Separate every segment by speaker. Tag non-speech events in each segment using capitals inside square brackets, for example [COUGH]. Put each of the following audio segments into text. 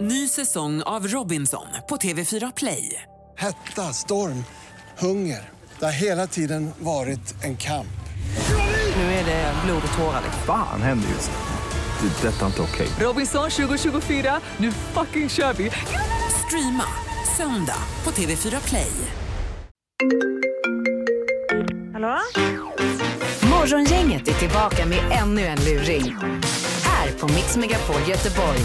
Speaker 1: Ny säsong av Robinson på TV4 Play.
Speaker 2: Hetta, storm, hunger. Det har hela tiden varit en kamp.
Speaker 1: Nu är det blod och tårar.
Speaker 3: liksom.
Speaker 4: Fan händer just nu. Det. är Detta är inte okej.
Speaker 1: Robinson 2024, nu fucking kör vi! Streama söndag på TV4 Play.
Speaker 5: Hallå?
Speaker 3: Morgongänget är tillbaka med ännu en luring. Här på Mix Megapol Göteborg.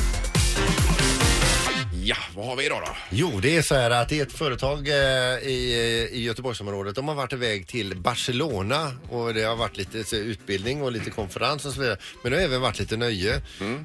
Speaker 6: Ja, vad har vi idag då?
Speaker 7: Jo, det är så här att det är ett företag eh, i, i Göteborgsområdet. De har varit iväg till Barcelona och det har varit lite så, utbildning och lite konferens och så vidare. Men det har även varit lite nöje.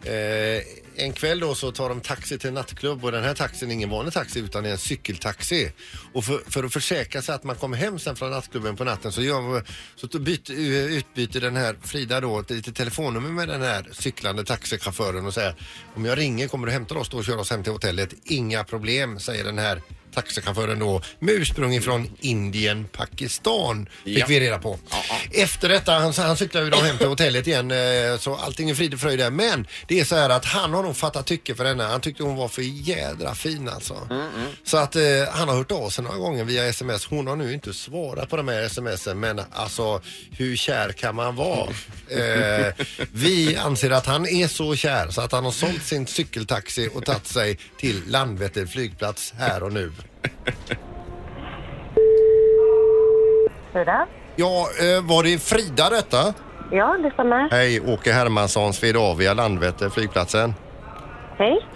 Speaker 7: Eh, en kväll då så tar de taxi till en nattklubb och den här taxin är ingen vanlig taxi utan är en cykeltaxi. Och för, för att försäkra sig att man kommer hem sen från nattklubben på natten så, gör, så byt, eh, utbyter den här Frida då ett litet telefonnummer med den här cyklande taxichauffören och säger om jag ringer kommer du hämta oss då och köra oss hem till hotellet. Inga problem, säger den här taxichauffören då med ursprung ifrån Indien, Pakistan fick
Speaker 6: Ja.
Speaker 7: vi reda på. Efter detta, han, han cyklar ju då hem till hotellet igen eh, så allting är frid och fröjd där. Men det är så här att han har nog fattat tycke för henne. Han tyckte hon var för jädra fin alltså. Så att eh, han har hört av sig några gånger via sms. Hon har nu inte svarat på de här smsen men alltså hur kär kan man vara? Eh, vi anser att han är så kär så att han har sålt sin cykeltaxi och tagit sig till Landvetter flygplats här och nu.
Speaker 5: Frida?
Speaker 7: Ja, eh, var det Frida detta?
Speaker 5: Ja, det stämmer.
Speaker 7: Hej, Åke Hermansson, Swedavia, Landvetter, flygplatsen.
Speaker 5: Hej.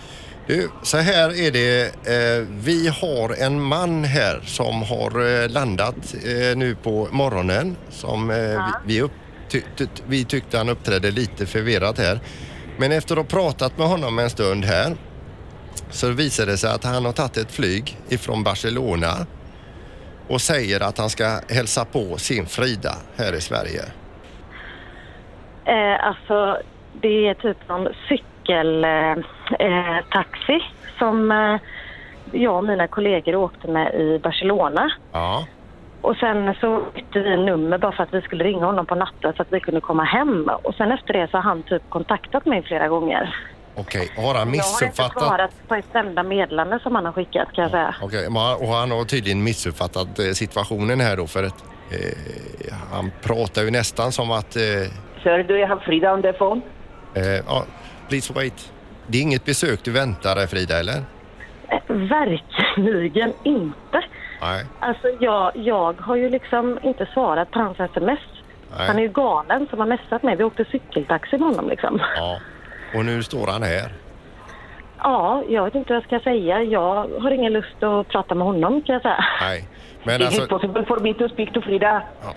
Speaker 7: Du, så här är det. Eh, vi har en man här som har eh, landat eh, nu på morgonen som eh, vi, vi, upp, ty, ty, vi tyckte han uppträdde lite förvirrat här. Men efter att ha pratat med honom en stund här så visar det sig att han har tagit ett flyg ifrån Barcelona och säger att han ska hälsa på sin Frida här i Sverige.
Speaker 5: Eh, alltså, det är typ någon cykeltaxi eh, taxi som eh, jag och mina kollegor åkte med i Barcelona.
Speaker 7: Ja.
Speaker 5: Och sen så bytte vi nummer bara för att vi skulle ringa honom på natten så att vi kunde komma hem. Och sen efter det så har han typ kontaktat mig flera gånger.
Speaker 7: Okej, har han
Speaker 5: Jag har inte
Speaker 7: missuppfattat?
Speaker 5: svarat på ett enda meddelande som han har skickat kan jag säga.
Speaker 7: Okej, men han- och han har tydligen missuppfattat eh, situationen här då för att eh, han pratar ju nästan som att eh,
Speaker 8: Sir, do you have Frida on the phone?
Speaker 7: eh, ja, please wait. Det är inget besök du väntar dig Frida eller?
Speaker 5: Eh, verkligen inte.
Speaker 7: Nej.
Speaker 5: Alltså jag, jag har ju liksom inte svarat på hans sms.
Speaker 7: Nej.
Speaker 5: Han är ju galen som har messat mig. Vi åkte cykeltaxi med honom liksom.
Speaker 7: Ja. Och nu står han här.
Speaker 5: Ja, jag vet inte vad jag ska säga. Jag har ingen lust att prata med honom kan jag säga.
Speaker 7: Nej. Men
Speaker 8: Is
Speaker 7: alltså...
Speaker 8: it possible for me to speak to Frida?
Speaker 7: Ja.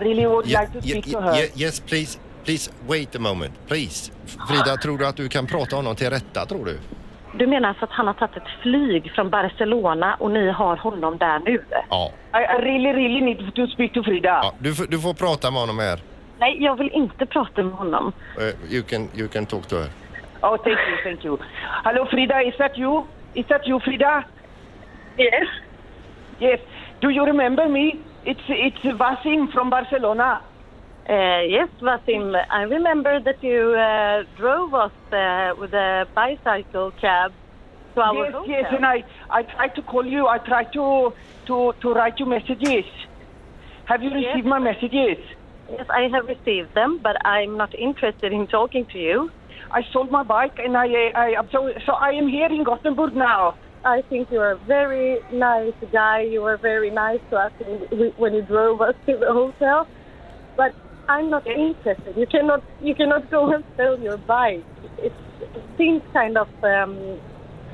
Speaker 8: I really would
Speaker 7: Ja,
Speaker 8: like to
Speaker 7: ja,
Speaker 8: speak to
Speaker 7: ja,
Speaker 8: her.
Speaker 7: ja, yes please. Please wait a moment. Please. Frida, tror du att du kan prata honom till rätta tror du?
Speaker 5: Du menar alltså att han har tagit ett flyg från Barcelona och ni har honom där nu?
Speaker 7: Ja.
Speaker 8: I, I really, really need to speak to Frida.
Speaker 7: ja. Du, får- du får prata med honom här.
Speaker 5: Nej, jag vill inte prata med honom.
Speaker 7: Eh, you, can, you can talk to her.
Speaker 8: Oh, thank you, thank you. Hello, Frida, is that you? Is that you, Frida?
Speaker 5: Yes.
Speaker 8: Yes. Do you remember me? It's it's Vasim from Barcelona.
Speaker 5: Uh, yes, Vasim. I remember that you uh, drove us uh, with a bicycle cab to our
Speaker 8: yes,
Speaker 5: hotel.
Speaker 8: yes, and I, I tried to call you. I tried to to to write you messages. Have you
Speaker 5: Yes.
Speaker 8: received my messages?
Speaker 5: Yes, I have received them, but I'm not interested in talking to you.
Speaker 8: I sold my bike and I I, I so, so I am here in Gothenburg now.
Speaker 5: I think you're a very nice guy. You were very nice to us when we- when you drove us to the hotel, but I'm not interested. You cannot you cannot go and sell your bike. It, it seems kind of um,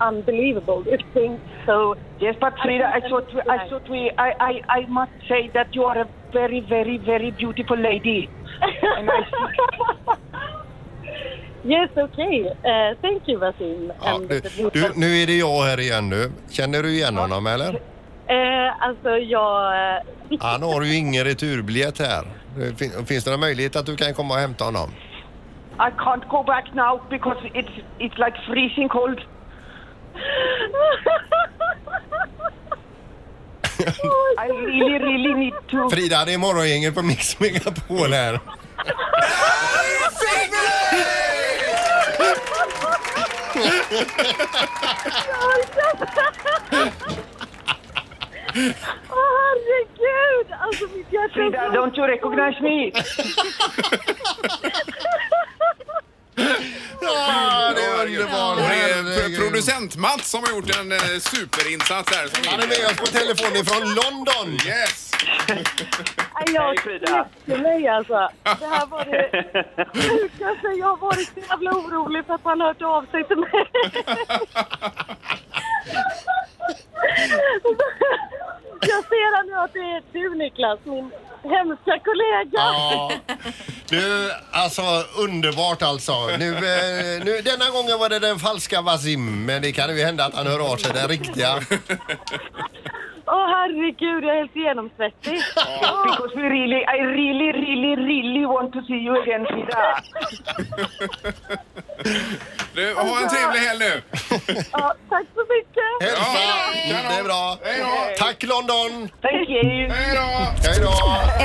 Speaker 5: unbelievable. It seems so.
Speaker 8: Yes, but Frida, I
Speaker 5: think
Speaker 8: thought we,
Speaker 5: that's
Speaker 8: I
Speaker 5: right.
Speaker 8: thought we, I, I, I must say that you are a very, very, very beautiful lady.
Speaker 5: [LAUGHS]
Speaker 8: And I
Speaker 5: Yes, okay. Uh, thank you, Vasim.
Speaker 7: Ja,
Speaker 5: and
Speaker 7: du,
Speaker 5: the people.
Speaker 7: du, nu är det jag här igen nu. Känner du igen honom eller?
Speaker 5: Eh, alltså, jag...
Speaker 7: Han har ju ingen returbiljett här. Det fin- Finns det någon möjlighet att du kan komma och hämta honom?
Speaker 8: I can't go back now because it's it's like
Speaker 5: [LAUGHS]
Speaker 8: freezing cold. I really, really need to.
Speaker 7: Frida, det är morgongänget på Mix Megapol här.
Speaker 5: [LAUGHS] Åh herregud! Alltså mitt hjärta
Speaker 8: Frida, don't you
Speaker 5: [LAUGHS]
Speaker 8: recognize me?
Speaker 7: Ja, det är
Speaker 6: Och
Speaker 7: underbart.
Speaker 6: det är
Speaker 7: Herregud.
Speaker 6: producent-Mats som har gjort en eh, superinsats här. som
Speaker 7: Han är med oss på telefon ifrån London.
Speaker 6: Yes!
Speaker 5: Nej, jag
Speaker 8: Hej, Frida.
Speaker 5: knäckte mig alltså. Det här
Speaker 7: [LAUGHS]
Speaker 5: var det sjukaste. Jag har varit så jävla orolig för att han har hört av sig till
Speaker 7: [LAUGHS]
Speaker 5: mig. Jag ser här nu att det är du Niklas, min hemska kollega.
Speaker 7: Ja. Du, alltså underbart alltså. Nu, eh, nu, denna gången var det den falska Wasim, men det kan ju hända att han hör av sig den riktiga.
Speaker 5: Åh herregud, jag är helt genomsvettig.
Speaker 8: Because we really, I really, really, really want to see you again, Frida.
Speaker 6: Du, ha en trevlig helg nu!
Speaker 5: Ja, tack så mycket.
Speaker 7: Hälsa!
Speaker 6: Ja,
Speaker 7: Det är bra.
Speaker 6: Hej då!
Speaker 7: Tack London!
Speaker 8: Thank you.
Speaker 6: Hej då!
Speaker 7: Hej då!